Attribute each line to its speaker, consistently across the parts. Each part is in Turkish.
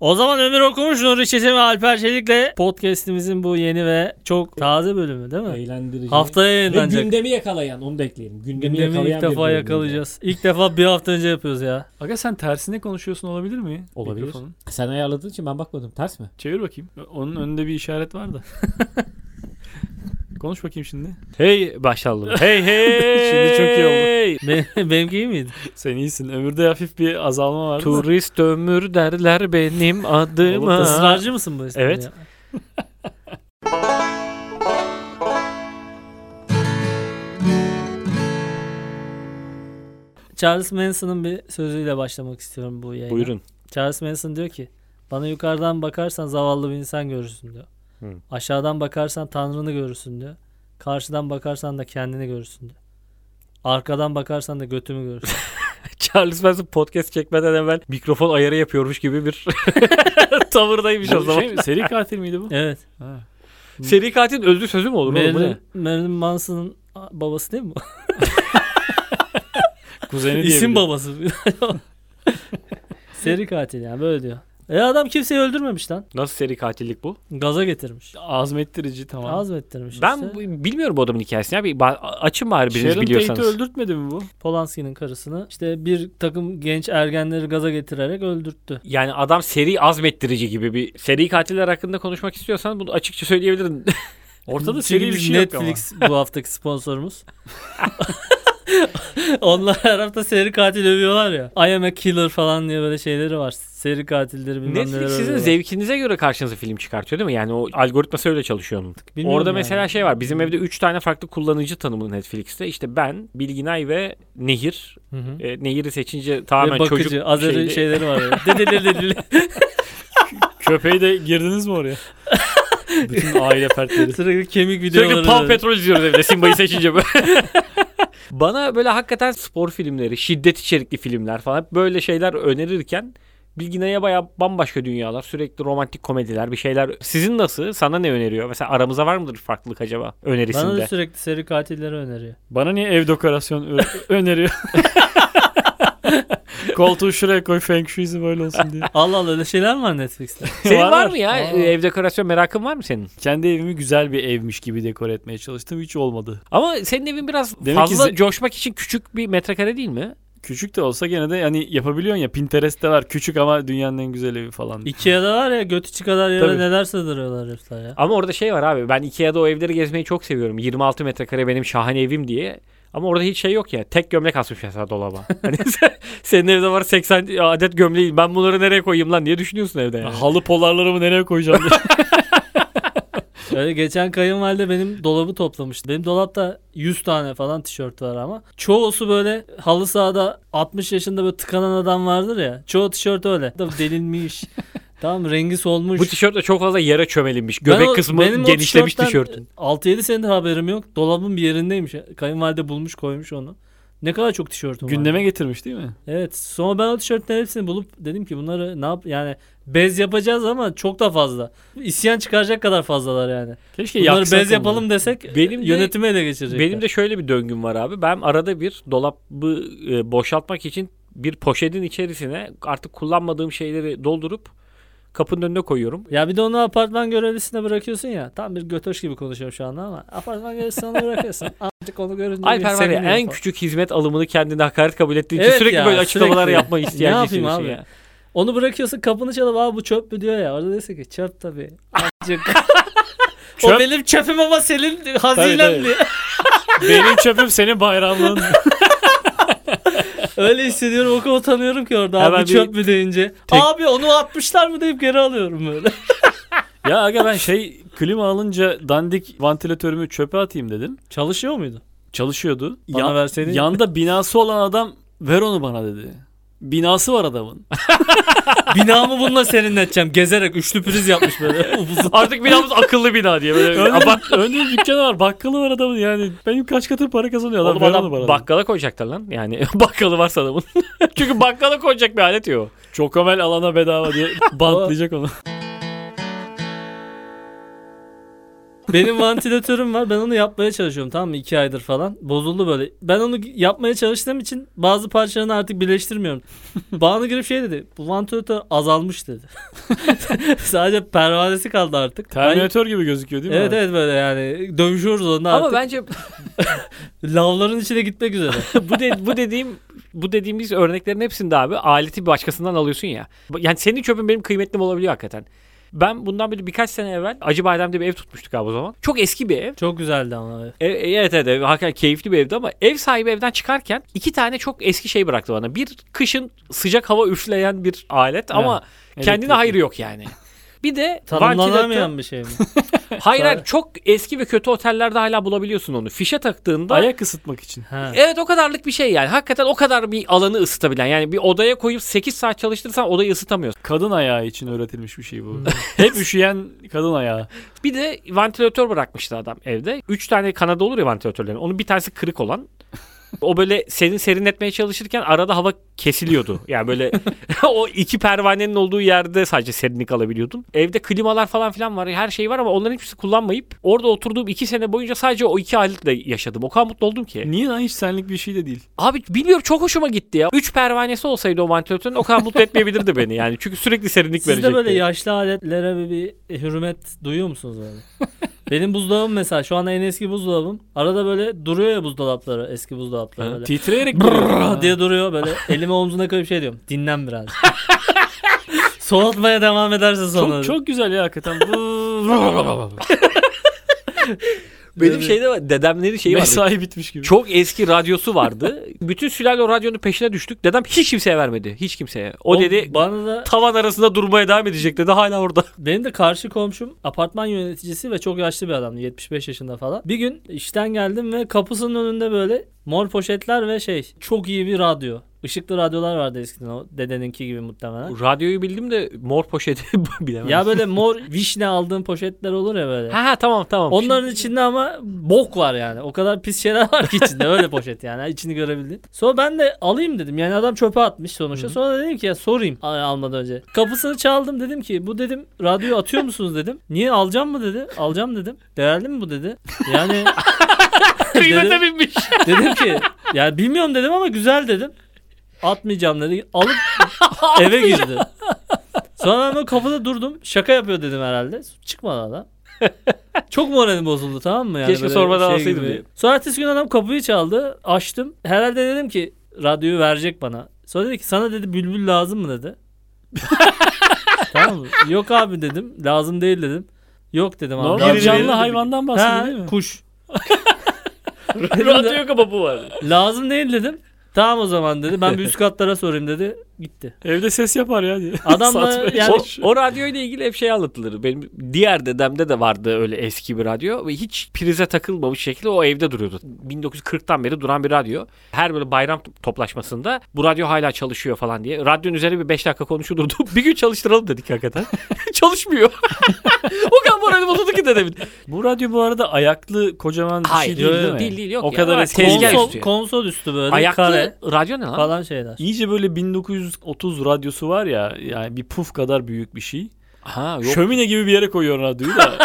Speaker 1: O zaman Ömür Okumuş, Nuri Çetin ve Alper Çelik'le podcast'imizin bu yeni ve çok taze bölümü değil mi?
Speaker 2: Eğlendirici.
Speaker 1: Haftaya
Speaker 2: Ve
Speaker 1: yayınlanacak.
Speaker 2: gündemi yakalayan onu da ekleyelim. Gündemi,
Speaker 1: Gündemi
Speaker 2: yakalayan
Speaker 1: ilk
Speaker 2: bir
Speaker 1: defa
Speaker 2: bölüm
Speaker 1: yakalayacağız. İlk defa bir hafta önce yapıyoruz ya.
Speaker 3: Aga sen tersine konuşuyorsun olabilir mi?
Speaker 2: Olabilir.
Speaker 3: Mikrofonun.
Speaker 2: olacak. Sen ayarladığın için ben bakmadım. Ters mi?
Speaker 3: Çevir bakayım. Onun önünde bir işaret var da. Konuş bakayım şimdi. Hey başladım. Hey hey.
Speaker 1: Şimdi çok iyi
Speaker 3: oldu.
Speaker 1: Be- Benimki iyi miydi?
Speaker 3: Sen iyisin. Ömürde hafif bir azalma var. da.
Speaker 4: Turist ömür derler benim
Speaker 1: Oğlum
Speaker 4: adıma.
Speaker 1: ısrarcı mısın bu işte?
Speaker 4: Evet.
Speaker 1: Ya? Charles Manson'ın bir sözüyle başlamak istiyorum bu yayına.
Speaker 4: Buyurun.
Speaker 1: Charles Manson diyor ki bana yukarıdan bakarsan zavallı bir insan görürsün diyor.
Speaker 4: Hı.
Speaker 1: Aşağıdan bakarsan tanrını görürsün diyor. Karşıdan bakarsan da kendini görürsün diyor. Arkadan bakarsan da götümü görürsün.
Speaker 4: Charles Manson podcast çekmeden evvel mikrofon ayarı yapıyormuş gibi bir tavırdaymış o
Speaker 3: Bu
Speaker 4: zaman.
Speaker 3: şey mi? Seri katil miydi bu?
Speaker 1: evet.
Speaker 3: Ha.
Speaker 4: Seri katilin özlü sözü mü olur? oğlum? Bu ne?
Speaker 1: Marilyn, Marilyn Manson'ın babası değil mi? bu?
Speaker 3: Kuzeni diye.
Speaker 1: İsim babası. Seri katil yani böyle diyor. E adam kimseyi öldürmemiş lan.
Speaker 4: Nasıl seri katillik bu?
Speaker 1: Gaza getirmiş.
Speaker 3: Azmettirici tamam.
Speaker 2: Şey
Speaker 1: Azmettirmiş
Speaker 4: Ben
Speaker 1: işte.
Speaker 4: bu- bilmiyorum bu adamın hikayesini abi. Ba- açın bari biriniz
Speaker 3: Sharon
Speaker 4: biliyorsanız.
Speaker 3: Tate'i öldürtmedi mi bu?
Speaker 1: Polanski'nin karısını işte bir takım genç ergenleri gaza getirerek öldürttü.
Speaker 4: Yani adam seri azmettirici gibi bir seri katiller hakkında konuşmak istiyorsan bunu açıkça söyleyebilirim.
Speaker 3: Ortada
Speaker 1: Çünkü
Speaker 3: seri bir
Speaker 1: biz
Speaker 3: şey
Speaker 1: Netflix bu haftaki sponsorumuz. Onlar her hafta seri katil övüyorlar ya. I am a killer falan diye böyle şeyleri var. Seri katilleri bilmem neler
Speaker 4: Netflix sizin
Speaker 1: övüyorlar.
Speaker 4: zevkinize göre karşınıza film çıkartıyor değil mi? Yani o algoritması öyle çalışıyor onun.
Speaker 1: Bilmiyorum
Speaker 4: Orada
Speaker 1: yani.
Speaker 4: mesela şey var. Bizim evde 3 tane farklı kullanıcı tanımı Netflix'te. İşte ben, Bilginay ve Nehir.
Speaker 1: Hı hı.
Speaker 4: E, Nehir'i seçince
Speaker 1: Ve
Speaker 4: tamamen
Speaker 1: bakıcı,
Speaker 4: çocuk
Speaker 1: Azeri şey
Speaker 4: şeydi.
Speaker 1: şeyleri var. ya. Dedeleri dedeleri.
Speaker 3: ama. Köpeği de girdiniz mi oraya? Bütün aile fertleri.
Speaker 1: Sürekli kemik videoları.
Speaker 4: Sürekli Paw
Speaker 1: böyle.
Speaker 4: Patrol izliyoruz evde Simba'yı seçince böyle. Bana böyle hakikaten spor filmleri, şiddet içerikli filmler falan hep böyle şeyler önerirken Bilginay'a baya bambaşka dünyalar. Sürekli romantik komediler, bir şeyler. Sizin nasıl? Sana ne öneriyor? Mesela aramıza var mıdır farklılık acaba önerisinde?
Speaker 1: Bana da sürekli seri katilleri öneriyor.
Speaker 3: Bana niye ev dekorasyonu ö- öneriyor? Koltuğu şuraya koy Feng Shui'si böyle olsun diye.
Speaker 1: Allah Allah öyle şeyler mi var Netflix'te?
Speaker 4: Senin var,
Speaker 3: var.
Speaker 4: mı ya?
Speaker 3: Aa.
Speaker 4: Ev dekorasyon merakın var mı senin?
Speaker 3: Kendi evimi güzel bir evmiş gibi dekore etmeye çalıştım. Hiç olmadı.
Speaker 4: Ama senin evin biraz
Speaker 3: Demek ki
Speaker 4: fazla
Speaker 3: ze-
Speaker 4: coşmak için küçük bir metrekare değil mi?
Speaker 3: Küçük de olsa gene de hani yapabiliyorsun ya Pinterest'te var küçük ama dünyanın en güzel evi falan.
Speaker 1: Ikea'da var ya götü çıkadar yere
Speaker 4: Tabii.
Speaker 1: neler sığdırıyorlar herifler ya.
Speaker 4: Ama orada şey var abi. Ben Ikea'da o evleri gezmeyi çok seviyorum. 26 metrekare benim şahane evim diye. Ama orada hiç şey yok ya. Tek gömlek asmış mesela dolaba. Hani sen- senin evde var 80 adet gömleğin. Ben bunları nereye koyayım lan diye düşünüyorsun evde yani.
Speaker 3: Ya Halı polarlarımı nereye koyacağım? diye.
Speaker 1: Öyle geçen kayınvalide benim dolabı toplamıştı. Benim dolapta 100 tane falan tişört var ama. Çoğusu böyle halı sahada 60 yaşında böyle tıkanan adam vardır ya. Çoğu tişört öyle. Tabii Delinmiş. tamam rengi solmuş.
Speaker 4: Bu tişört de çok fazla yere çömelinmiş.
Speaker 1: Ben
Speaker 4: Göbek
Speaker 1: o-
Speaker 4: kısmı
Speaker 1: benim o
Speaker 4: genişlemiş
Speaker 1: tişörtten
Speaker 4: tişörtün.
Speaker 1: 6-7 senedir haberim yok. Dolabın bir yerindeymiş. Kayınvalide bulmuş koymuş onu. Ne kadar çok tişörtüm var.
Speaker 3: Gündeme getirmiş değil mi?
Speaker 1: Evet. Sonra ben o tişörtlerin hepsini bulup dedim ki bunları ne yap yani bez yapacağız ama çok da fazla. İsyan çıkaracak kadar fazlalar yani.
Speaker 3: Keşke
Speaker 1: Bunları
Speaker 3: yaksak
Speaker 1: bez
Speaker 3: onları.
Speaker 1: yapalım desek
Speaker 4: Benim
Speaker 1: benim
Speaker 4: de-
Speaker 1: yönetime ele geçirecekler.
Speaker 4: Benim de şöyle bir döngüm var abi. Ben arada bir dolabı e, boşaltmak için bir poşetin içerisine artık kullanmadığım şeyleri doldurup kapının önüne koyuyorum.
Speaker 1: Ya bir de onu apartman görevlisine bırakıyorsun ya. Tam bir götöş gibi konuşuyorum şu anda ama apartman görevlisine onu bırakıyorsun. Azıcık onu görünce
Speaker 4: Alper
Speaker 1: bir
Speaker 4: var ya
Speaker 1: seviniyor
Speaker 4: en
Speaker 1: falan.
Speaker 4: küçük hizmet alımını kendine hakaret kabul ettiği için
Speaker 1: Evet
Speaker 4: sürekli
Speaker 1: ya,
Speaker 4: böyle açıklamalar
Speaker 1: sürekli.
Speaker 4: yapma ihtiyacı
Speaker 1: Ne yapayım
Speaker 4: hissediyorsun
Speaker 1: abi?
Speaker 4: ya.
Speaker 1: Onu bırakıyorsun kapını çalıp abi bu çöp mü diyor ya. Orada diyorsun ki çöp tabii. Azıcık. O
Speaker 3: Çöp-
Speaker 1: benim çöpüm ama senin hazinen
Speaker 3: tabii.
Speaker 1: mi?
Speaker 3: Benim çöpüm senin bayramlığın.
Speaker 1: Öyle hissediyorum o kadar utanıyorum ki orada
Speaker 4: Hemen
Speaker 1: abi
Speaker 4: bir-
Speaker 1: çöp mü deyince. Abi onu atmışlar mı deyip geri alıyorum böyle.
Speaker 3: ya aga ben şey klima alınca dandik vantilatörümü çöpe atayım dedim.
Speaker 1: Çalışıyor muydu?
Speaker 3: Çalışıyordu.
Speaker 1: Bana verseydin.
Speaker 3: Yanda binası olan adam ver onu bana dedi. Binası var adamın.
Speaker 1: Binamı bununla serinleteceğim. Gezerek üçlü priz yapmış böyle. Uzun.
Speaker 4: Artık binamız akıllı bina diye böyle.
Speaker 3: Önde,
Speaker 4: Ama
Speaker 3: önde bir dükkanı var bakkalı var adamın yani. Benim kaç katır para kazanıyor adam
Speaker 4: Oğlum
Speaker 3: ver
Speaker 4: adam
Speaker 3: onu bana. Bak.
Speaker 4: bakkala koyacaklar lan. Yani bakkalı varsa adamın. Çünkü bakkala koyacak bir alet yok.
Speaker 3: Çokomel alana bedava diye bantlayacak onu.
Speaker 1: Benim vantilatörüm var. Ben onu yapmaya çalışıyorum tamam mı? 2 aydır falan. Bozuldu böyle. Ben onu yapmaya çalıştığım için bazı parçalarını artık birleştirmiyorum. Bana girip şey dedi. Bu vantilatör azalmış dedi. Sadece pervanesi kaldı artık. Ben-
Speaker 3: Terminator gibi gözüküyor değil mi?
Speaker 1: Evet
Speaker 3: abi?
Speaker 1: evet böyle yani dövüşüyoruz onunla
Speaker 4: Ama
Speaker 1: artık.
Speaker 4: bence
Speaker 1: Lavların içine gitmek üzere.
Speaker 4: bu, de- bu dediğim bu dediğimiz örneklerin hepsinde abi aleti bir başkasından alıyorsun ya. Yani senin çöpün benim kıymetlim olabiliyor hakikaten. Ben bundan böyle birkaç sene evvel Acı Badem'de bir ev tutmuştuk abi o zaman. Çok eski bir ev.
Speaker 1: Çok güzeldi ama.
Speaker 4: E, e, evet evet ev, hakikaten keyifli bir evdi ama ev sahibi evden çıkarken iki tane çok eski şey bıraktı bana. Bir kışın sıcak hava üfleyen bir alet ama kendine
Speaker 2: elektrikli.
Speaker 4: hayrı yok yani. Bir de vantilatör-
Speaker 1: Tanımlanamayan bir şey mi?
Speaker 4: Hayır hayır çok eski ve kötü otellerde hala bulabiliyorsun onu. Fişe taktığında
Speaker 3: Ayak ısıtmak için.
Speaker 1: Ha.
Speaker 4: Evet o kadarlık bir şey yani. Hakikaten o kadar bir alanı ısıtabilen. Yani bir odaya koyup 8 saat çalıştırırsan odayı ısıtamıyorsun.
Speaker 3: Kadın ayağı için öğretilmiş bir şey bu.
Speaker 4: Hmm.
Speaker 3: Hep üşüyen kadın ayağı.
Speaker 4: Bir de ventilatör bırakmıştı adam evde. 3 tane kanadı olur ya ventilatörlerin. Onun bir tanesi kırık olan. O böyle serin serinletmeye çalışırken arada hava kesiliyordu. Yani böyle o iki pervanenin olduğu yerde sadece serinlik alabiliyordun. Evde klimalar falan filan var. Her şey var ama onların hiçbirisi kullanmayıp orada oturduğum iki sene boyunca sadece o iki aletle yaşadım. O kadar mutlu oldum ki.
Speaker 3: Niye lan hiç senlik bir şey de değil.
Speaker 4: Abi bilmiyorum çok hoşuma gitti ya. 3 pervanesi olsaydı o vantilatörün o kadar mutlu etmeyebilirdi beni yani. Çünkü sürekli serinlik
Speaker 1: Siz
Speaker 4: verecekti.
Speaker 1: de böyle yaşlı aletlere bir, bir hürmet duyuyor musunuz böyle? Benim buzdolabım mesela şu anda en eski buzdolabım. Arada böyle duruyor ya buzdolapları eski buzdolapları böyle.
Speaker 3: Titreyerek duruyor.
Speaker 1: "Brrr" diye duruyor böyle elimi omzuna koyup şey diyorum. Dinlen biraz. Soğutmaya devam ederse sonra.
Speaker 3: Çok, çok güzel ya hakikaten.
Speaker 4: Benim şeyde Şey var dedemlerin şeyi vardı.
Speaker 3: Mesai bitmiş gibi.
Speaker 4: Çok eski radyosu vardı. Bütün sülale o radyonun peşine düştük. Dedem hiç kimseye vermedi. Hiç kimseye. O,
Speaker 1: O
Speaker 4: dedi
Speaker 1: bana da
Speaker 4: tavan arasında durmaya devam edecek dedi. Hala orada.
Speaker 1: Benim de karşı komşum apartman yöneticisi ve çok yaşlı bir adamdı. 75 yaşında falan. Bir gün işten geldim ve kapısının önünde böyle mor poşetler ve şey çok iyi bir radyo. Işıklı radyolar vardı eskiden o dedeninki gibi muhtemelen.
Speaker 4: Radyoyu bildim de mor poşeti bilemem.
Speaker 1: ya böyle mor vişne aldığın poşetler olur ya böyle.
Speaker 4: Ha ha tamam tamam.
Speaker 1: Onların içinde ama bok var yani. O kadar pis şeyler var ki içinde öyle poşet yani. İçini görebildiğin. Sonra ben de alayım dedim. Yani adam çöpe atmış sonuçta. Sonra dedim ki ya sorayım al- almadan önce. Kapısını çaldım dedim ki bu dedim radyoyu atıyor musunuz dedim. Niye alacağım mı dedi. Alacağım dedim. Değerli mi bu dedi. Yani
Speaker 4: kıymete
Speaker 1: dedim-
Speaker 4: binmiş.
Speaker 1: dedim ki yani bilmiyorum dedim ama güzel dedim. Atmayacağım dedi. Alıp eve girdi. Sonra ben böyle kapıda durdum. Şaka yapıyor dedim herhalde. Çıkmadı adam. Çok moralim bozuldu tamam mı? Yani
Speaker 4: Keşke
Speaker 1: böyle şey
Speaker 4: sormadan alsaydım
Speaker 1: gibi.
Speaker 4: diye.
Speaker 1: Sonra ertesi gün adam kapıyı çaldı. Açtım. Herhalde dedim ki radyoyu verecek bana. Sonra dedi ki sana dedi bülbül lazım mı dedi. tamam mı? Yok abi dedim. Lazım değil dedim. Yok dedim abi.
Speaker 2: Normal
Speaker 1: Radyo
Speaker 2: canlı
Speaker 4: şey.
Speaker 1: verin."
Speaker 2: hayvandan
Speaker 1: Ha,
Speaker 2: bahsediyor değil mi?
Speaker 1: kuş.
Speaker 4: Radyo kapapı var.
Speaker 1: Lazım değil dedim. Tamam o zaman dedi. Ben bir üst katlara sorayım dedi. Gitti.
Speaker 3: Evde ses yapar ya diye.
Speaker 1: Adamla
Speaker 3: Satmaya
Speaker 1: yani
Speaker 4: O, o radyoyla ilgili hep şey anlatılır. Benim diğer dedemde de vardı öyle eski bir radyo ve hiç prize takılmamış şekilde o evde duruyordu. 1940'tan beri duran bir radyo. Her böyle bayram to- toplaşmasında bu radyo hala çalışıyor falan diye. Radyonun üzerine bir 5 dakika konuşulurdu. bir gün çalıştıralım dedik hakikaten. Çalışmıyor. o kadar moralim bozuldu ki dedemin.
Speaker 3: Bu radyo bu arada ayaklı kocaman bir
Speaker 4: Hayır
Speaker 3: şey değil, değil mi?
Speaker 4: değil, değil, yok
Speaker 3: o
Speaker 4: ya.
Speaker 3: kadar
Speaker 4: Ama
Speaker 3: eski.
Speaker 4: tezgah
Speaker 3: Konsol-
Speaker 1: konsol,
Speaker 4: üstü.
Speaker 1: konsol üstü böyle
Speaker 4: Ayaklı
Speaker 1: kare
Speaker 4: radyo ne lan?
Speaker 1: falan şeyler.
Speaker 3: İyice böyle 1930 radyosu var ya yani bir puf kadar büyük bir şey.
Speaker 4: Ha, yok.
Speaker 3: Şömine gibi bir yere koyuyor radyoyu da.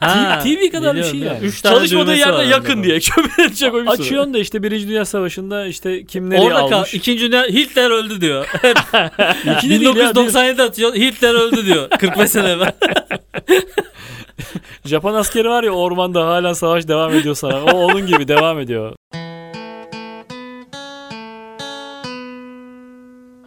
Speaker 1: Ha,
Speaker 3: TV kadar bir şey
Speaker 1: biliyorum,
Speaker 3: yani.
Speaker 1: Üç tane
Speaker 4: Çalışmadığı
Speaker 1: düğmesi var
Speaker 4: yerde
Speaker 1: onda
Speaker 4: yakın
Speaker 1: da.
Speaker 4: diye kömür edecek koymuşsun.
Speaker 3: Açıyorsun da işte Birinci Dünya Savaşı'nda işte kim nereye
Speaker 1: Orada kal.
Speaker 3: almış.
Speaker 1: İkinci dünya Hitler öldü diyor.
Speaker 3: İki de değil ya, değil.
Speaker 1: 1997 atıyor. Hitler öldü diyor. 45 sene evvel.
Speaker 3: Japon askeri var ya ormanda hala savaş devam ediyor sana. O onun gibi devam ediyor.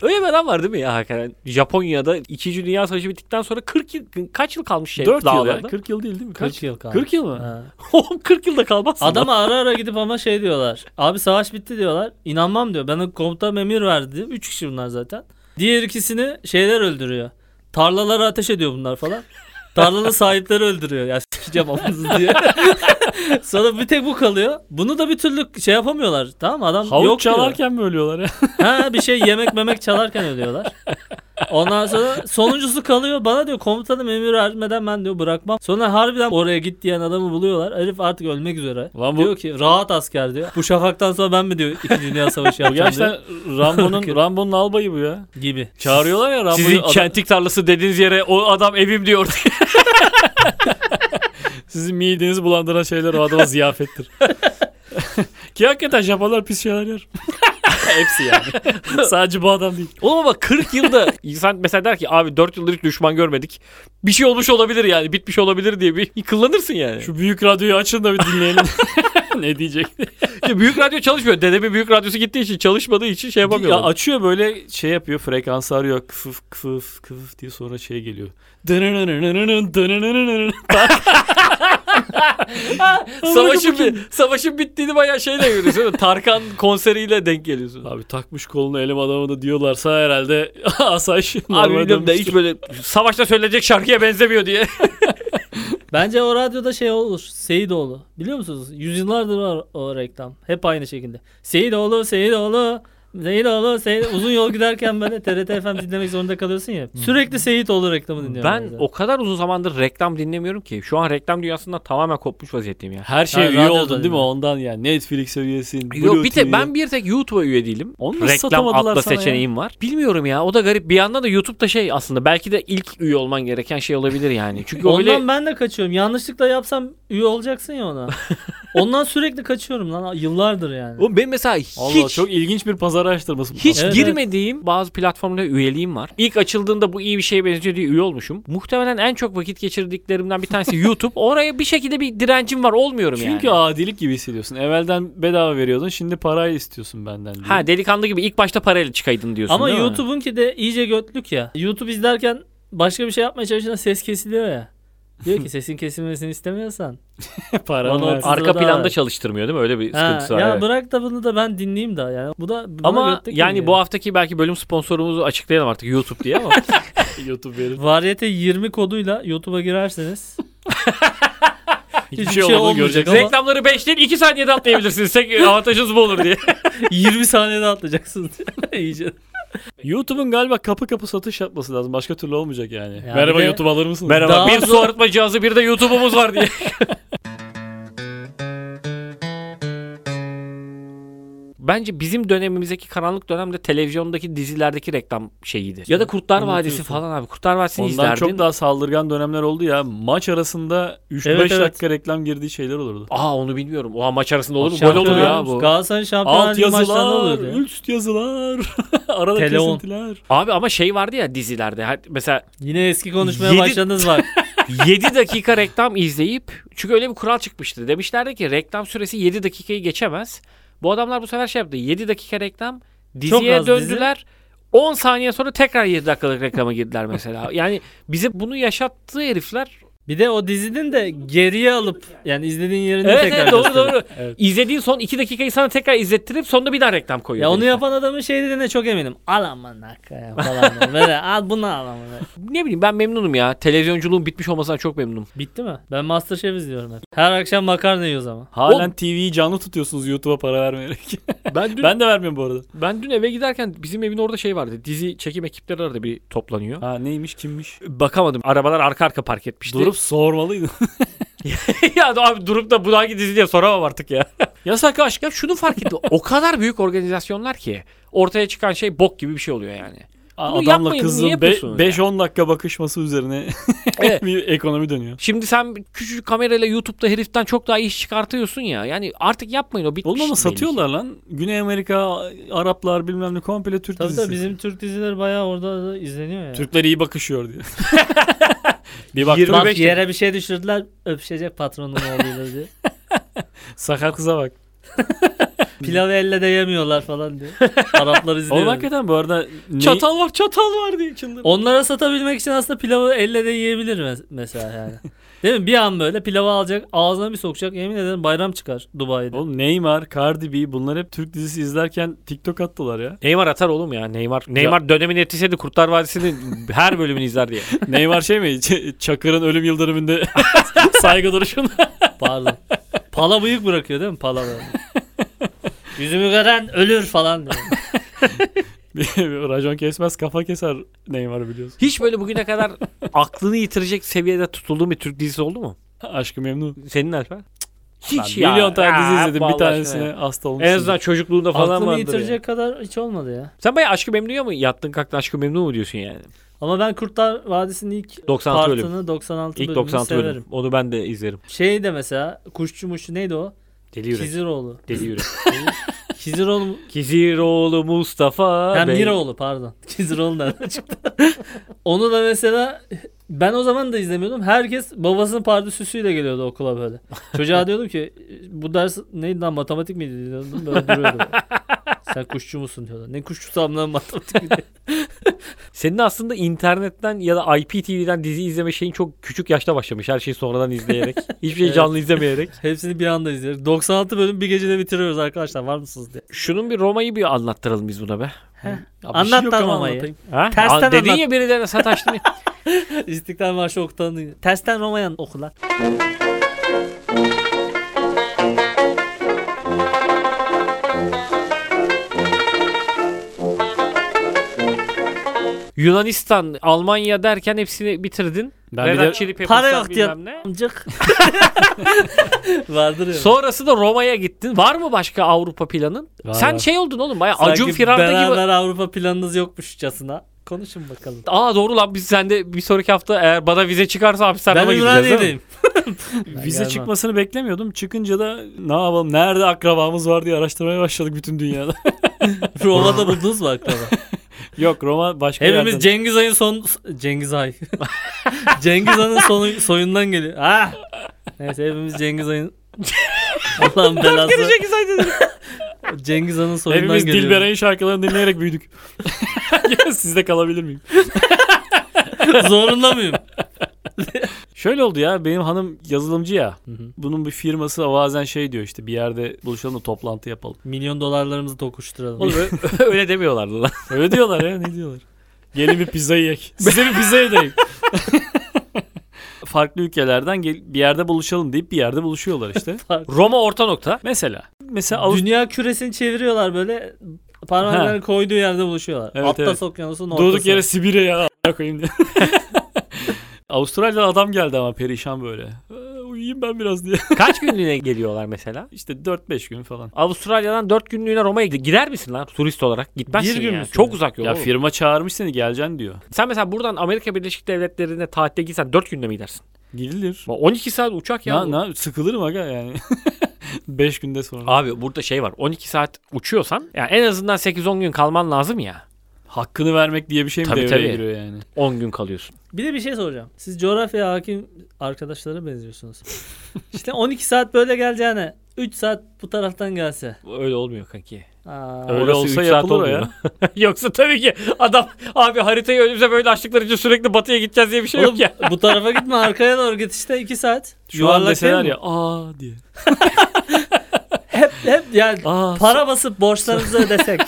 Speaker 4: Öyle bir adam var değil mi ya hakikaten? Japonya'da 2. Dünya Savaşı bittikten sonra 40 yıl, kaç yıl kalmış şey?
Speaker 3: 4 yıl ya.
Speaker 4: dağlarda?
Speaker 3: 40 yıl değil değil mi? E, Kaç?
Speaker 1: 40 yıl kaldı.
Speaker 3: 40 yıl mı?
Speaker 1: Ha.
Speaker 4: Oğlum 40 yılda kalmazsın. lan.
Speaker 1: Adama ara ara gidip ama şey diyorlar. Abi savaş bitti diyorlar. İnanmam diyor. Bana komutan emir verdi. 3 kişi bunlar zaten. Diğer ikisini şeyler öldürüyor. Tarlalara ateş ediyor bunlar falan. Tarlalı sahipleri öldürüyor. Ya sikeceğim amanızı diye. Sonra bir tek bu kalıyor. Bunu da bir türlü şey yapamıyorlar. Tamam mı? Adam
Speaker 3: Havuç
Speaker 1: yok diyor.
Speaker 3: çalarken mi ölüyorlar ya?
Speaker 1: Ha bir şey yemek memek çalarken ölüyorlar. Ondan sonra sonuncusu kalıyor. Bana diyor komutanım emir vermeden ben diyor bırakmam. Sonra harbiden oraya git diyen adamı buluyorlar. Herif artık ölmek üzere.
Speaker 3: Lan bu
Speaker 1: Diyor ki rahat asker diyor. Bu şafaktan sonra ben mi diyor İkinci Dünya Savaşı
Speaker 3: Bu
Speaker 1: yapacağım diyor.
Speaker 3: gerçekten Rambo'nun Rambo'nun albayı bu ya.
Speaker 1: Gibi.
Speaker 3: Çağırıyorlar ya Rambo'yu.
Speaker 4: Sizin
Speaker 3: adam-
Speaker 4: kentik tarlası dediğiniz yere o adam evim diyor.
Speaker 3: Sizin midenizi bulandıran şeyler o adama ziyafettir. Ki hakikaten Japonlar pis şeyler yer.
Speaker 4: Hepsi yani.
Speaker 3: Sadece bu adam değil.
Speaker 4: Oğlum ama 40 yılda insan mesela der ki abi 4 yıldır hiç düşman görmedik. Bir şey olmuş olabilir yani bitmiş olabilir diye bir yıkılanırsın yani.
Speaker 3: Şu büyük radyoyu açın da bir dinleyelim. ne diyecek?
Speaker 4: İşte büyük radyo çalışmıyor. Dedemin büyük radyosu gittiği için çalışmadığı için şey yapamıyor.
Speaker 3: Ya açıyor böyle şey yapıyor frekansı arıyor kıf kıf kıf diye sonra şey geliyor.
Speaker 4: savaşın, bi- savaşın bittiğini bayağı şeyle görüyorsun. değil mi? Tarkan konseriyle denk geliyorsun. Abi,
Speaker 3: Abi takmış kolunu elim adamı da diyorlarsa herhalde asayiş normale
Speaker 4: bilmiyorum da hiç
Speaker 3: dönmüştür.
Speaker 4: böyle savaşta söylenecek şarkıya benzemiyor diye.
Speaker 1: Bence o radyoda şey olur. Seyidoğlu. Biliyor musunuz? Yüzyıllardır var o reklam. Hep aynı şekilde. Seyidoğlu, Seyidoğlu. Seyidoğlu, Seyidoğlu. Uzun yol giderken böyle TRT FM dinlemek zorunda kalıyorsun ya. Sürekli Seyidoğlu reklamı dinliyorum.
Speaker 4: Ben o kadar uzun zamandır reklam dinlemiyorum ki. Şu an reklam dünyasından tamamen kopmuş vaziyetteyim yani.
Speaker 3: Her şey
Speaker 1: Ha,
Speaker 3: üye
Speaker 1: radyoda
Speaker 3: oldun değil mi
Speaker 1: yani.
Speaker 3: ondan yani Netflix üyesin. Blue
Speaker 4: Yok bir tek
Speaker 3: TV.
Speaker 4: ben bir tek YouTube'a üye değilim.
Speaker 3: Onu nasıl
Speaker 4: Reklam
Speaker 3: satamadılar
Speaker 4: atla
Speaker 3: sana ya?
Speaker 4: seçeneğim var. Bilmiyorum ya o da garip. Bir yandan da YouTube'da şey aslında belki de ilk üye olman gereken şey olabilir yani. Çünkü
Speaker 1: Ondan
Speaker 4: öyle
Speaker 1: ben de kaçıyorum. Yanlışlıkla yapsam üye olacaksın ya ona. Ondan sürekli kaçıyorum lan. Yıllardır yani.
Speaker 4: Oğlum benim mesela hiç
Speaker 3: Allah çok ilginç bir pazar araştırması. bu.
Speaker 4: hiç
Speaker 1: Evet,
Speaker 4: girmediğim bazı platformda üyeliğim var. İlk açıldığında bu iyi bir şeye benziyor diye üye olmuşum. Muhtemelen en çok vakit geçirdiklerimden bir tanesi YouTube. Oraya bir şekilde bir direncim var olmuyorum yani.
Speaker 3: Çünkü adilik gibi hissediyorsun. Evvelden bedava veriyordun şimdi parayı istiyorsun benden diye.
Speaker 4: Ha delikanlı gibi ilk başta parayla çıkaydın diyorsun
Speaker 1: Ama
Speaker 4: değil mi?
Speaker 1: YouTube'unki de iyice götlük ya. YouTube izlerken başka bir şey yapmaya çalışırken ses kesiliyor ya. Diyor ki sesin kesilmesini istemiyorsan.
Speaker 3: Paranı
Speaker 1: Bana
Speaker 3: versin.
Speaker 1: o-
Speaker 4: Arka
Speaker 1: da
Speaker 4: planda
Speaker 1: var.
Speaker 4: çalıştırmıyor değil mi? Öyle bir
Speaker 1: Ha,
Speaker 4: sıkıntısı var.
Speaker 1: ya
Speaker 4: evet.
Speaker 1: bırak da bunu da ben dinleyeyim da yani. Bu da buna
Speaker 4: Ama
Speaker 1: götlük
Speaker 4: yani
Speaker 1: geliyor.
Speaker 4: bu haftaki belki bölüm sponsorumuzu açıklayalım artık YouTube diye ama
Speaker 3: YouTube verir.
Speaker 1: Variyete 20 koduyla YouTube'a girerseniz
Speaker 3: Hiçbir
Speaker 1: Hiçbir şey
Speaker 3: şey olmadığını
Speaker 1: olmayacak.
Speaker 3: göreceksin.
Speaker 1: Ama-
Speaker 4: reklamları 5 değil 2 saniyede atlayabilirsiniz. Tek avantajınız bu olur diye.
Speaker 1: 20 saniyede atlayacaksınız. İyice.
Speaker 3: YouTube'un galiba kapı kapı satış yapması lazım. Başka türlü olmayacak yani.
Speaker 1: Ya
Speaker 3: Merhaba
Speaker 1: bir de-
Speaker 3: YouTube alır mısınız?
Speaker 4: Merhaba.
Speaker 1: Daha
Speaker 4: bir
Speaker 1: zor-
Speaker 4: su arıtma cihazı bir de YouTube'umuz var diye. Bence bizim dönemimizdeki karanlık dönemde televizyondaki dizilerdeki reklam şeyiydi. Ya da Kurtlar Vadisi
Speaker 3: Unutuyorsun.
Speaker 4: falan abi. Kurtlar Vadisi'ni
Speaker 3: Ondan
Speaker 4: izlerdin.
Speaker 3: çok daha saldırgan dönemler oldu ya. Maç arasında 3-5
Speaker 1: Evet, evet.
Speaker 3: dakika reklam girdiği şeyler olurdu.
Speaker 4: Aa onu bilmiyorum. Oha maç arasında olur mu? Gol
Speaker 1: Şampiyonlar-
Speaker 4: olur ya bu.
Speaker 1: Galatasaray şampiyonlar
Speaker 3: Alt
Speaker 1: Ligi maçlarında
Speaker 3: yazılar,
Speaker 1: oluyordu. ya.
Speaker 3: üst yazılar, arada
Speaker 1: Teleon.
Speaker 3: kesintiler.
Speaker 4: Abi ama şey vardı ya dizilerde. Ha- Mesela
Speaker 1: Yine eski konuşmaya
Speaker 4: Yedi-
Speaker 1: başladınız bak.
Speaker 4: 7 dakika reklam izleyip çünkü öyle bir kural çıkmıştı. Demişlerdi ki reklam süresi 7 dakikayı geçemez. Bu adamlar bu sefer şey yaptı. 7 dakika reklam diziye
Speaker 1: az dizi.
Speaker 4: döndüler. 10 saniye sonra tekrar 7 dakikalık reklama girdiler mesela. Yani bize bunu yaşattığı herifler.
Speaker 1: Bir de o dizinin de geriye alıp yani izlediğin yerinde
Speaker 4: Evet,
Speaker 1: tekrar
Speaker 4: evet doğru
Speaker 1: gösteriyor.
Speaker 4: doğru.
Speaker 3: Evet.
Speaker 4: İzlediğin son 2 dakikayı sana tekrar izlettirip sonunda bir daha reklam koyuyor.
Speaker 1: Ya onu
Speaker 4: herifler.
Speaker 1: yapan adamın şey dediğine çok eminim. Al aman hakikaten falan. Böyle al bunu al aman.
Speaker 4: Ne bileyim ben memnunum ya. Televizyonculuğun bitmiş olmasına çok memnunum.
Speaker 1: Bitti mi? Ben Masterchef izliyorum hep. Her akşam makarna yiyoruz ama.
Speaker 3: Halen TV'yi canlı tutuyorsunuz YouTube'a para vermeyerek.
Speaker 4: Ben dün, ben,
Speaker 3: ben de vermiyorum bu arada.
Speaker 4: ben dün eve giderken bizim evin orada şey vardı. Dizi çekim ekipleri arada bir toplanıyor.
Speaker 3: Ha neymiş kimmiş?
Speaker 4: Bakamadım. Arabalar arka arka park etmişti.
Speaker 3: Durup sormalıydın.
Speaker 4: ya abi durup da bu hangi dizi diye soramam artık ya. Yasak aşk. Ya şunu fark ettim. o kadar büyük organizasyonlar ki ortaya çıkan şey bok gibi bir şey oluyor yani. Bunu
Speaker 3: Adamla
Speaker 4: yapmayın,
Speaker 3: kızın
Speaker 4: niye yapıyorsunuz
Speaker 3: 5-10 dakika bakışması üzerine
Speaker 4: Evet.
Speaker 3: bir ekonomi dönüyor.
Speaker 4: Şimdi sen küçücük kamerayla YouTube'da heriften çok daha iş çıkartıyorsun ya. Yani artık yapmayın o bitmiş.
Speaker 3: Oğlum ama
Speaker 4: belli ki.
Speaker 3: satıyorlar lan. Güney Amerika, Araplar bilmem ne komple Türk
Speaker 1: Tabii
Speaker 3: dizisi.
Speaker 1: tabii bizim Türk dizileri bayağı orada da izleniyor ya.
Speaker 3: Türkler iyi bakışıyor diye. bir baktım
Speaker 1: Bak
Speaker 4: 25
Speaker 1: yere bir şey düşürdüler öpüşecek patronun oğluyla diye.
Speaker 3: sakar kıza bak.
Speaker 1: Pilavı elle de yemiyorlar falan diye. Araplar
Speaker 3: Oğlum
Speaker 1: izliyor.
Speaker 3: hakikaten bu arada ne-
Speaker 4: Çatal var çatal var diye çıldır.
Speaker 1: Onlara satabilmek için aslında pilavı elle de yiyebilir mes- mesela yani. Değil mi? Bir an böyle pilavı alacak ağzına bir sokacak yemin ederim bayram çıkar Dubai'de.
Speaker 3: Oğlum Neymar, Cardi B bunlar hep Türk dizisi izlerken TikTok attılar ya.
Speaker 4: Neymar atar oğlum ya Neymar. Neymar dönemin etkisiydi Kurtlar Vadisi'nin her bölümünü izler diye.
Speaker 3: Neymar şey mi? Ç- Çakır'ın ölüm yıldönümünde saygı duruşunda.
Speaker 1: Pardon. Pala bıyık bırakıyor değil mi? Pala böyle. Yüzümü gören ölür falan diyor.
Speaker 3: Racon kesmez kafa keser Neymar biliyorsun.
Speaker 4: Hiç böyle bugüne kadar aklını yitirecek seviyede tutulduğun bir Türk dizisi oldu mu?
Speaker 3: Aşkı memnun.
Speaker 4: Senin Alper? Hiç
Speaker 3: Ben
Speaker 4: ya.
Speaker 3: milyon tane
Speaker 4: Ya,
Speaker 3: dizi izledim
Speaker 4: vallahi
Speaker 3: bir tanesine
Speaker 4: aşkına ya.
Speaker 3: hasta olmuşum.
Speaker 4: En azından çocukluğunda falan
Speaker 1: Aklımı
Speaker 4: vardır. ya.
Speaker 1: yitirecek kadar hiç olmadı ya.
Speaker 4: Sen bayağı aşkı memnuya mı yattın kalktın aşkı memnu mu diyorsun yani?
Speaker 1: Ama ben Kurtlar Vadisi'nin ilk
Speaker 4: 96 bölüm.
Speaker 1: partını 96
Speaker 4: İlk
Speaker 1: bölümünü
Speaker 4: 96
Speaker 1: severim.
Speaker 4: bölüm. Onu ben de izlerim.
Speaker 1: Şey de mesela Kuşçu Muşçu neydi o?
Speaker 4: Deli yürek.
Speaker 1: Kiziroğlu.
Speaker 4: Deli yürek.
Speaker 1: Kiziroğlu mu?
Speaker 4: Kiziroğlu Mustafa
Speaker 1: Hem
Speaker 4: Bey.
Speaker 1: Miroğlu pardon. Kiziroğlu nereden çıktı? Onu da mesela ben o zaman da izlemiyordum. Herkes babasının pardüsüsüyle geliyordu okula böyle. Çocuğa diyordum ki bu ders neydi lan matematik miydi diyordum. Böyle duruyordu. Sen kuşçu musun diyorlar. Ne kuşçusam lan matematik mi diye.
Speaker 4: Senin aslında internetten ya da IPTV'den dizi izleme şeyin çok küçük yaşta başlamış. Her şeyi sonradan izleyerek. Hiçbir şeyi
Speaker 1: Evet.
Speaker 4: canlı izlemeyerek.
Speaker 1: Hepsini bir anda izliyoruz. 96 bölüm bir gecede bitiriyoruz arkadaşlar var mısınız diye.
Speaker 4: Şunun bir Roma'yı bir anlattıralım biz buna be. Ya bir şey
Speaker 1: Anlat
Speaker 4: yok
Speaker 1: lan
Speaker 4: ama
Speaker 1: Roma'yı.
Speaker 4: anlatayım. Ha?
Speaker 1: Tersten
Speaker 4: Aa, Dedin
Speaker 1: anlat.
Speaker 4: ya birilerine sataştın.
Speaker 1: İstiklal Marşı oktanı. Tersten Roma'ya okular.
Speaker 4: Yunanistan, Almanya derken hepsini bitirdin.
Speaker 3: Ben bir
Speaker 4: Red
Speaker 3: de
Speaker 4: Hot Chili Peppers'tan
Speaker 1: Para yok diye.
Speaker 4: bilmem ne.
Speaker 1: Amcık. Vardır ya.
Speaker 4: Sonrası da Roma'ya gittin. Var mı başka Avrupa planın?
Speaker 3: Var,
Speaker 4: Sen
Speaker 3: var.
Speaker 4: şey oldun oğlum baya
Speaker 1: Sanki
Speaker 4: Acun Firar'da gibi.
Speaker 1: beraber Avrupa planınız yokmuşçasına. Konuşun bakalım.
Speaker 4: Aa doğru lan biz sende bir sonraki hafta eğer bana vize çıkarsa hapishaneye
Speaker 1: Ben
Speaker 4: gideceğiz. değil mi?
Speaker 1: Ümraniye'deyim.
Speaker 3: Vize
Speaker 1: gelmem.
Speaker 3: çıkmasını beklemiyordum. Çıkınca da ne yapalım? Nerede akrabamız var diye araştırmaya başladık bütün dünyada.
Speaker 1: Roma'da buldunuz mu akraba?
Speaker 3: Yok Roma başka
Speaker 1: Hepimiz
Speaker 3: yerden.
Speaker 1: Cengiz Ay'ın son... Cengiz Ay. Cengiz Han'ın sonu- soyundan geliyor. Ah! Neyse hepimiz Cengiz Ay'ın... Allah'ın belası. Cengiz Han'ın soyundan
Speaker 3: Hepimiz
Speaker 1: geliyor.
Speaker 3: Dilberay'ın şarkılarını dinleyerek büyüdük. Sizde kalabilir miyim?
Speaker 1: Zorunda mıyım?
Speaker 3: Şöyle oldu ya benim hanım yazılımcı ya.
Speaker 1: hı.
Speaker 3: Bunun bir firması bazen şey diyor işte bir yerde buluşalım da toplantı yapalım.
Speaker 1: Milyon dolarlarımızı tokuşturalım.
Speaker 4: Oğlum ö- öyle demiyorlardı lan.
Speaker 3: Öyle diyorlar ya ne diyorlar. Gelin bir pizza yiyek. Size bir pizza yedireyim. Farklı ülkelerden gel- bir yerde buluşalım deyip bir yerde buluşuyorlar işte.
Speaker 4: Roma orta nokta.
Speaker 3: Mesela. Mesela Avust-
Speaker 1: Dünya küresini çeviriyorlar böyle parmaklarını koyduğu yerde buluşuyorlar.
Speaker 3: Evet,
Speaker 1: Atlas
Speaker 3: evet.
Speaker 1: Okyanusu'nun ortası.
Speaker 3: durduk yere Sibirya ya a**a koyayım diye. Avustralya'da adam geldi ama perişan böyle. "Ee, Uyuyayım ben biraz diye.
Speaker 4: Kaç günlüğüne geliyorlar mesela?
Speaker 3: İşte 4-5 gün falan.
Speaker 4: Avustralya'dan 4 günlüğüne Roma'ya gid- gider misin lan turist olarak? Gitmezsin
Speaker 1: Bir gün
Speaker 4: ya.
Speaker 1: müsün?
Speaker 4: Çok uzak yol.
Speaker 3: Ya
Speaker 4: oğlum.
Speaker 3: firma çağırmış seni geleceksin diyor.
Speaker 4: Sen mesela buradan Amerika Birleşik Devletleri'ne tatile gitsen 4 günde mi gidersin?
Speaker 3: Gidilir.
Speaker 4: Bak 12 saat uçak ya. bu.
Speaker 3: Na, na, sıkılırım aga yani. 5 günde sonra.
Speaker 4: Abi burada şey var. 12 saat uçuyorsan ya en azından 8-10 gün kalman lazım ya.
Speaker 3: Hakkını vermek diye bir şey mi
Speaker 4: Tabii,
Speaker 3: devreye
Speaker 4: tabii.
Speaker 3: giriyor yani?
Speaker 4: 10 gün kalıyorsun.
Speaker 1: Bir de bir şey soracağım. Siz coğrafyaya hakim arkadaşlara benziyorsunuz. işte 12 saat böyle geleceğine 3 saat bu taraftan gelse.
Speaker 4: Öyle olmuyor kanki.
Speaker 1: Aa,
Speaker 4: Öyle
Speaker 3: Orası
Speaker 4: olsa
Speaker 3: üç saat
Speaker 4: yapılır o
Speaker 3: olmuyor.
Speaker 4: ya. Yoksa tabii ki adam abi haritayı önümüze böyle açtıkları için sürekli batıya gideceğiz diye bir şey
Speaker 1: Oğlum,
Speaker 4: yok ya.
Speaker 1: bu tarafa gitme arkaya doğru git işte 2 saat.
Speaker 3: Şu an deseler
Speaker 1: değil mi?
Speaker 3: ya aa diye.
Speaker 1: Hep hep yani
Speaker 3: Aa
Speaker 1: para basıp borçlarınızı ödesek.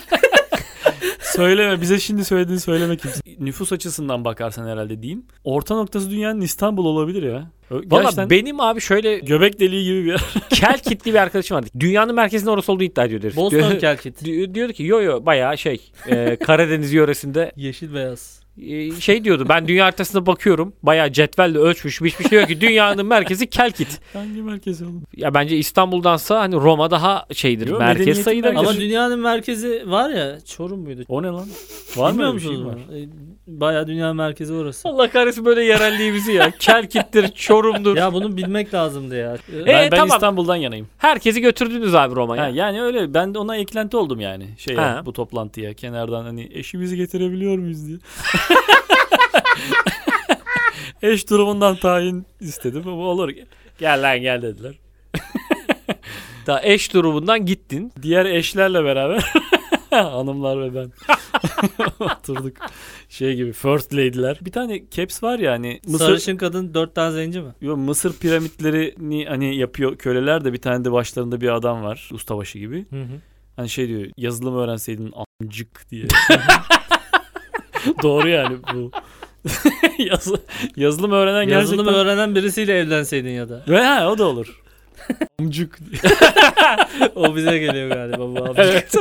Speaker 3: söyleme bize şimdi söylediğini söyleme kimse. Nüfus açısından bakarsan herhalde diyeyim. Orta noktası dünyanın İstanbul olabilir ya. Ö-
Speaker 4: Valla
Speaker 3: Gerçekten
Speaker 4: benim abi şöyle
Speaker 3: göbek deliği gibi bir yer.
Speaker 4: kel kitli bir arkadaşım vardı. Dünyanın merkezinde orası olduğunu iddia ediyordu. herif.
Speaker 1: Boston
Speaker 4: Diyor-
Speaker 1: Kelkit.
Speaker 4: Di- diyordu ki yo yo bayağı şey e, Karadeniz yöresinde
Speaker 1: Yeşil beyaz.
Speaker 4: e, şey diyordu ben dünya haritasına bakıyorum bayağı cetvelle ölçmüş hiçbir şey yok ki dünyanın merkezi Kelkit.
Speaker 3: Hangi merkez oğlum?
Speaker 4: Ya bence İstanbul'dansa hani Roma daha şeydir
Speaker 3: Yo,
Speaker 4: merkez
Speaker 3: medeniyetin
Speaker 4: sayılır.
Speaker 1: Ama
Speaker 3: merkezi.
Speaker 1: dünyanın merkezi var ya Çorum muydu?
Speaker 3: O ne lan? Var mı
Speaker 1: Bilmiyor
Speaker 3: öyle bir şey var?
Speaker 1: musunuz bunu? E, Bayağı dünyanın merkezi orası.
Speaker 4: Allah kahretsin böyle yerelliğimizi ya. Kelkit'tir, Çorum'dur.
Speaker 1: ya bunu bilmek lazımdı ya.
Speaker 4: E,
Speaker 3: ben, ben
Speaker 4: tamam.
Speaker 3: İstanbul'dan yanayım.
Speaker 4: Herkesi götürdünüz abi
Speaker 3: Ha,
Speaker 1: Ee.
Speaker 4: Roma'ya.
Speaker 3: yani öyle ben de ona eklenti oldum yani şey ya,
Speaker 4: Ha.
Speaker 3: bu toplantıya kenardan hani eşimizi getirebiliyor muyuz diye. Eş durumundan tayin istedim ama olur. Gel lan gel dediler.
Speaker 4: Daha eş durumundan gittin.
Speaker 3: Diğer eşlerle beraber hanımlar ve ben oturduk. Şey gibi first lady'ler. Bir tane caps var ya hani Mısır
Speaker 1: Sarışın kadın dört tane zenci mi?
Speaker 3: Yo, Mısır piramitlerini hani yapıyor köleler de bir tane de başlarında bir adam var ustabaşı gibi.
Speaker 1: Hı hı.
Speaker 3: Hani şey diyor yazılım öğrenseydin amcık diye. Doğru yani bu. Yaz- yazılım öğrenen
Speaker 1: Yazılım
Speaker 3: gerçekten.
Speaker 1: öğrenen birisiyle evlenseydin ya da.
Speaker 3: Ve ha o da olur. amcık. diye.
Speaker 1: O bize geliyor galiba bu abi.
Speaker 3: evet.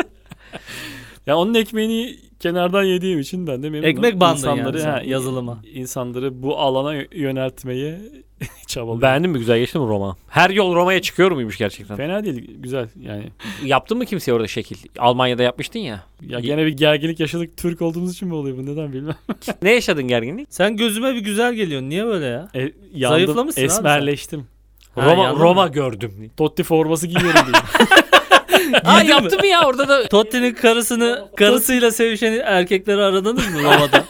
Speaker 3: ya onun ekmeğini kenardan yediğim için ben de memnunum.
Speaker 1: Ekmek bandın
Speaker 3: İnsanları-
Speaker 1: yani sen
Speaker 3: ha,
Speaker 1: yazılıma.
Speaker 3: insanları bu alana yö- yöneltmeye
Speaker 1: çabalıyor.
Speaker 4: Beğendin mi? Güzel geçti mi Roma? Her yol Roma'ya çıkıyor muymuş gerçekten?
Speaker 3: Fena değil güzel yani.
Speaker 4: Yaptın mı kimseye orada şekil? Almanya'da yapmıştın ya.
Speaker 3: Ya gene bir gerginlik yaşadık Türk olduğumuz için mi oluyor bu neden bilmem.
Speaker 4: ne yaşadın gerginlik?
Speaker 1: Sen gözüme bir güzel geliyorsun. Niye böyle ya?
Speaker 3: E, yandım,
Speaker 1: Zayıflamışsın abi sen.
Speaker 3: Esmerleştim.
Speaker 1: Ha,
Speaker 4: Roma
Speaker 1: yandın
Speaker 4: Roma
Speaker 1: mı?
Speaker 4: gördüm.
Speaker 3: Totti forması giyiyorum diye.
Speaker 4: Aa yaptı mı ya orada da
Speaker 1: Totti'nin karısını karısıyla sevişen erkekleri aradınız mı Roma'da?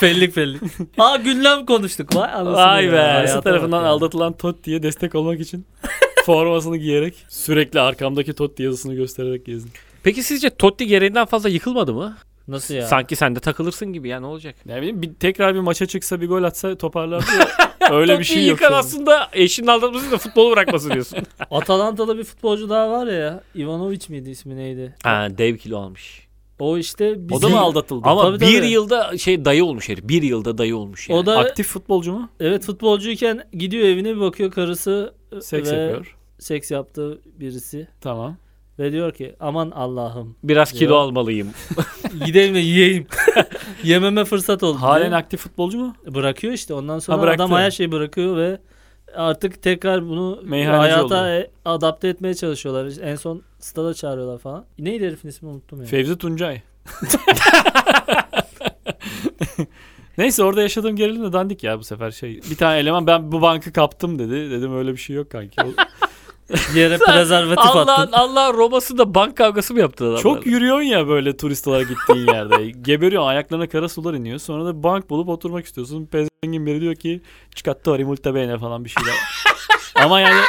Speaker 1: fellik fellik. Aa gündem konuştuk. Vay anasını.
Speaker 3: Vay
Speaker 1: ya,
Speaker 3: be.
Speaker 1: hayata
Speaker 3: Karısı tarafından
Speaker 1: bak ya.
Speaker 3: aldatılan Totti'ye destek olmak için formasını giyerek sürekli arkamdaki Totti yazısını göstererek gezdim.
Speaker 4: Peki sizce Totti gereğinden fazla yıkılmadı mı?
Speaker 1: Nasıl ya?
Speaker 4: Sanki sen de takılırsın gibi ya ne olacak?
Speaker 3: Ne bileyim bir, tekrar bir maça çıksa bir gol atsa toparlardı ya. öyle bir şey yok.
Speaker 4: yıkan
Speaker 3: şu an.
Speaker 4: aslında eşinin aldatması da futbolu bırakması diyorsun.
Speaker 1: Atalanta'da bir futbolcu daha var ya. Ivanovic miydi ismi neydi?
Speaker 4: ha dev kilo almış.
Speaker 1: O işte
Speaker 3: O da
Speaker 1: bizim-
Speaker 3: mı aldatıldı?
Speaker 4: Ama
Speaker 1: Tabii,
Speaker 4: bir
Speaker 1: tabii.
Speaker 4: yılda şey dayı olmuş herif. Bir yılda dayı olmuş yani.
Speaker 1: O da
Speaker 3: Aktif futbolcu mu?
Speaker 1: evet futbolcuyken gidiyor evine bir bakıyor karısı e,
Speaker 3: Seks
Speaker 1: ve
Speaker 3: yapıyor.
Speaker 1: seks yaptığı birisi
Speaker 3: Tamam.
Speaker 1: ve diyor ki aman Allah'ım
Speaker 4: Biraz kilo
Speaker 1: Ya.
Speaker 4: almalıyım.
Speaker 1: gideyim de yiyeyim. Yememe fırsat oldu.
Speaker 3: Halen
Speaker 1: diyor.
Speaker 3: aktif futbolcu mu?
Speaker 1: bırakıyor işte ondan
Speaker 3: Ha,
Speaker 1: sonra
Speaker 3: bıraktı.
Speaker 1: adam her şeyi bırakıyor ve artık tekrar bunu
Speaker 3: Meyhaneci oldu.
Speaker 1: hayata e, adapte etmeye çalışıyorlar. İşte en son stada çağırıyorlar falan. Neydi herifin ismini unuttum ya.
Speaker 3: Fevzi Tuncay. Neyse orada yaşadığım gerilim de dandik ya bu sefer şey. Bir tane eleman ben bu bankı kaptım dedi. Dedim öyle bir şey yok kanki. O-
Speaker 1: Yere prezervatif
Speaker 4: Allah
Speaker 1: attın.
Speaker 4: Allah Roma'sı da bank kavgası mı yaptı adamlar?
Speaker 3: Çok yürüyorsun ya böyle turist olarak gittiğin yerde. Geberiyorsun ayaklarına kara sular iniyor. Sonra da bank bulup oturmak istiyorsun. Pezengin biri diyor ki çıkarttı multa beyne falan bir şeyler. Ama yani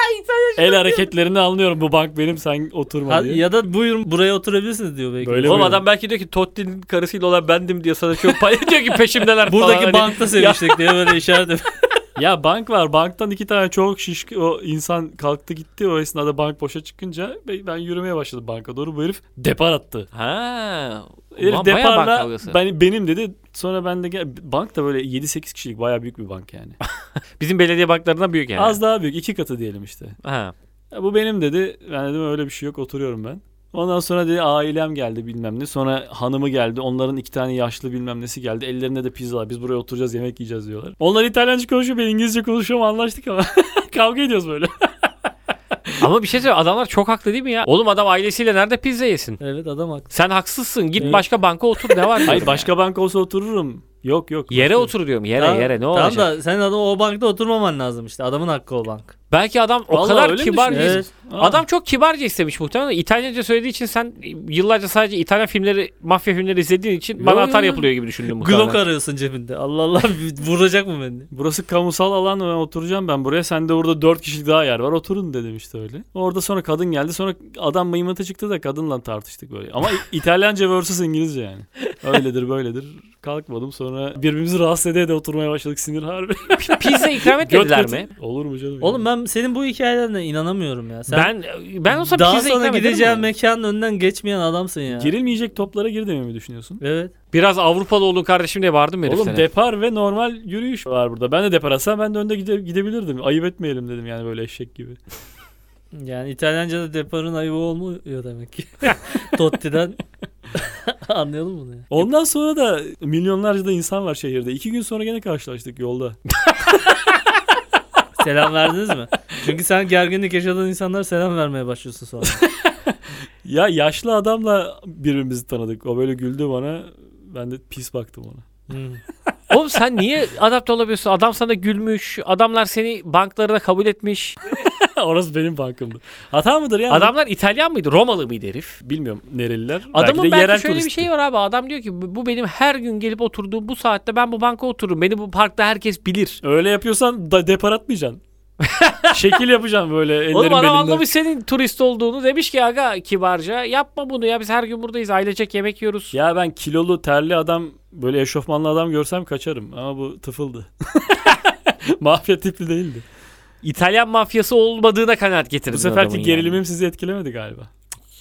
Speaker 3: el hareketlerini anlıyorum bu bank benim sen oturma
Speaker 1: Ha,
Speaker 3: diye.
Speaker 1: ya da buyurun buraya oturabilirsiniz diyor belki.
Speaker 3: Böyle
Speaker 4: Oğlum
Speaker 3: mi?
Speaker 4: adam belki diyor ki Totti'nin karısıyla olan bendim diyor sana çok pay diyor ki peşimdeler falan.
Speaker 1: Buradaki
Speaker 4: Hani-
Speaker 1: bankta seviştik diye böyle işaret ediyor.
Speaker 3: Ya bank var. Banktan iki tane çok şiş o insan kalktı gitti. O esnada bank boşa çıkınca ben ben yürümeye başladım banka doğru. Bu herif depar attı.
Speaker 4: Ha.
Speaker 3: Herif
Speaker 4: ulan bayağı bank
Speaker 3: deparla
Speaker 4: kavgası.
Speaker 3: ben, benim dedi. Sonra ben de gel, bank da böyle 7-8 kişilik bayağı büyük bir bank yani.
Speaker 4: Bizim belediye banklarından büyük yani.
Speaker 3: Az daha büyük. iki katı diyelim işte.
Speaker 4: Ha.
Speaker 3: Ya bu benim dedi. Ben dedim öyle bir şey yok oturuyorum ben. Ondan sonra dedi ailem geldi bilmem ne. Sonra hanımı geldi. Onların iki tane yaşlı bilmem nesi geldi. Ellerinde de pizzalar. Biz buraya oturacağız yemek yiyeceğiz diyorlar. Onlar İtalyanca konuşuyor ben İngilizce konuşuyorum anlaştık ama. Kavga ediyoruz böyle.
Speaker 4: Ama bir şey söyleyeyim adamlar çok haklı değil mi ya? Oğlum adam ailesiyle nerede pizza yesin?
Speaker 1: Evet adam haklı.
Speaker 4: Sen haksızsın git
Speaker 1: Evet.
Speaker 4: başka banka otur ne var?
Speaker 3: Hayır
Speaker 4: diyorum
Speaker 3: başka banka olsa otururum. Yok yok.
Speaker 4: ya. Yere otur diyorum yere
Speaker 1: Tamam-
Speaker 4: yere ne
Speaker 1: tamam
Speaker 4: olacak?
Speaker 1: da sen adam o bankta oturmaman lazım işte. Adamın hakkı o bank.
Speaker 4: Belki adam o
Speaker 3: Vallahi
Speaker 4: kadar
Speaker 3: öyle mi
Speaker 4: kibar
Speaker 3: düşünüyorsun?
Speaker 4: bir-
Speaker 1: Evet.
Speaker 3: Aa,
Speaker 4: Adam çok kibarca istemiş muhtemelen. İtalyanca söylediği için sen yıllarca sadece İtalyan filmleri, mafya filmleri izlediğin için bana
Speaker 1: Yo,
Speaker 4: atar
Speaker 1: yo.
Speaker 4: yapılıyor gibi düşündüm muhtemelen.
Speaker 1: Glock arıyorsun cebinde. Allah Allah vuracak mı beni?
Speaker 3: Burası kamusal alan ben oturacağım ben buraya. Sen de orada dört kişilik daha yer var. Oturun dedim işte öyle. Orada sonra kadın geldi. Sonra adam mıymıta çıktı da kadınla tartıştık böyle. Ama İ- İtalyanca vs İngilizce yani. Öyledir böyledir. Kalkmadım sonra birbirimizi rahatsız ede de oturmaya başladık sinir harbi.
Speaker 4: Pizza ikram etmediler mi?
Speaker 3: Olur mu canım?
Speaker 1: Oğlum
Speaker 3: ya?
Speaker 1: ben senin bu hikayelerine inanamıyorum ya. Sen
Speaker 4: Ben ben şey olsa
Speaker 1: daha
Speaker 4: pizza
Speaker 1: sonra
Speaker 4: ikram ederim
Speaker 1: gideceğin
Speaker 4: mi?
Speaker 1: mekanın önünden geçmeyen adamsın ya.
Speaker 3: Girilmeyecek toplara gir demeyi mi düşünüyorsun?
Speaker 1: Evet.
Speaker 4: Biraz Avrupalı olun kardeşim diye vardım herif
Speaker 3: Oğlum depar ve normal yürüyüş var burada. Ben de depar atsam ben de önde gide- gidebilirdim. Ayıp etmeyelim dedim yani böyle eşek gibi.
Speaker 1: Yani İtalyanca'da deparın ayıbı olmuyor demek ki. Totti'den anlayalım bunu ya.
Speaker 3: Ondan sonra da milyonlarca da insan var şehirde. İki gün sonra gene karşılaştık yolda.
Speaker 1: Selam verdiniz mi? Çünkü sen gerginlik yaşadığın insanlara selam vermeye başlıyorsun sonra.
Speaker 3: Ya yaşlı adamla birbirimizi tanıdık. O böyle güldü bana. Ben de pis baktım ona.
Speaker 1: Hmm.
Speaker 4: Oğlum sen niye adapte olabiliyorsun? Adam sana gülmüş. Adamlar seni banklarına kabul etmiş.
Speaker 3: Orası benim bankımdı. Hata mıdır ya?
Speaker 4: Adamlar İtalyan mıydı? Romalı mıydı herif?
Speaker 3: bilmiyorum nereliler.
Speaker 4: Adamın
Speaker 3: de
Speaker 4: belki,
Speaker 3: yerel
Speaker 4: şöyle
Speaker 3: turisti.
Speaker 4: bir şey var abi. Adam diyor ki bu benim her gün gelip oturduğum bu saatte ben bu banka otururum. Beni bu parkta herkes bilir.
Speaker 3: Öyle yapıyorsan da depar atmayacaksın. Şekil yapacaksın böyle ellerin
Speaker 4: Oğlum
Speaker 3: belinde.
Speaker 4: adam anlamış senin turist olduğunu. Demiş ki aga kibarca yapma bunu ya biz her gün buradayız. Ailecek yemek yiyoruz.
Speaker 3: Ya ben kilolu terli adam böyle eşofmanlı adam görsem kaçarım. Ama bu tıfıldı. Mafya tipli değildi.
Speaker 4: İtalyan mafyası olmadığına kanaat getirdin
Speaker 3: Bu seferki
Speaker 4: adamın
Speaker 3: gerilimim sizi etkilemedi galiba.
Speaker 4: yani.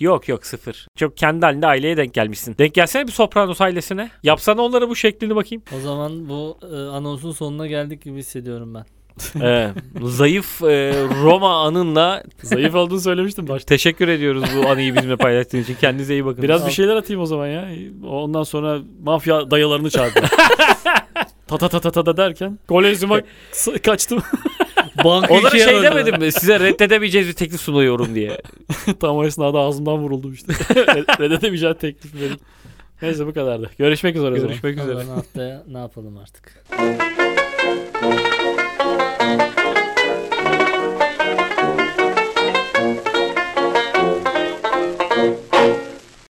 Speaker 4: Yok yok sıfır. Çok kendi halinde aileye denk gelmişsin. Denk gelsene bir Sopranos ailesine. Yapsana onlara bu şeklini bakayım.
Speaker 1: O zaman bu e, anonsun sonuna geldik gibi hissediyorum ben.
Speaker 4: Ee, zayıf e, Roma anınla
Speaker 3: Zayıf olduğunu söylemiştim başta.
Speaker 4: teşekkür ediyoruz bu anıyı bizimle paylaştığın için. Kendinize iyi bakın.
Speaker 3: Biraz bir şey şeyler atayım o zaman ya. Ondan sonra mafya dayılarını çağırdım. ta ta ta ta ta da derken Kolezyum'a s- kaçtım.
Speaker 1: Bank
Speaker 4: Onlara
Speaker 1: ikiye
Speaker 4: şey
Speaker 1: böldü.
Speaker 4: demedim mi? Size reddedemeyeceğiz bir teklif sunuyorum diye.
Speaker 3: Tam o esnada ağzımdan vuruldum işte. Reddedemeyeceğim teklif benim. Neyse bu kadardı. Görüşmek üzere. o zaman.
Speaker 4: Görüşmek üzere.
Speaker 1: Allah'ın haftaya ne yapalım artık.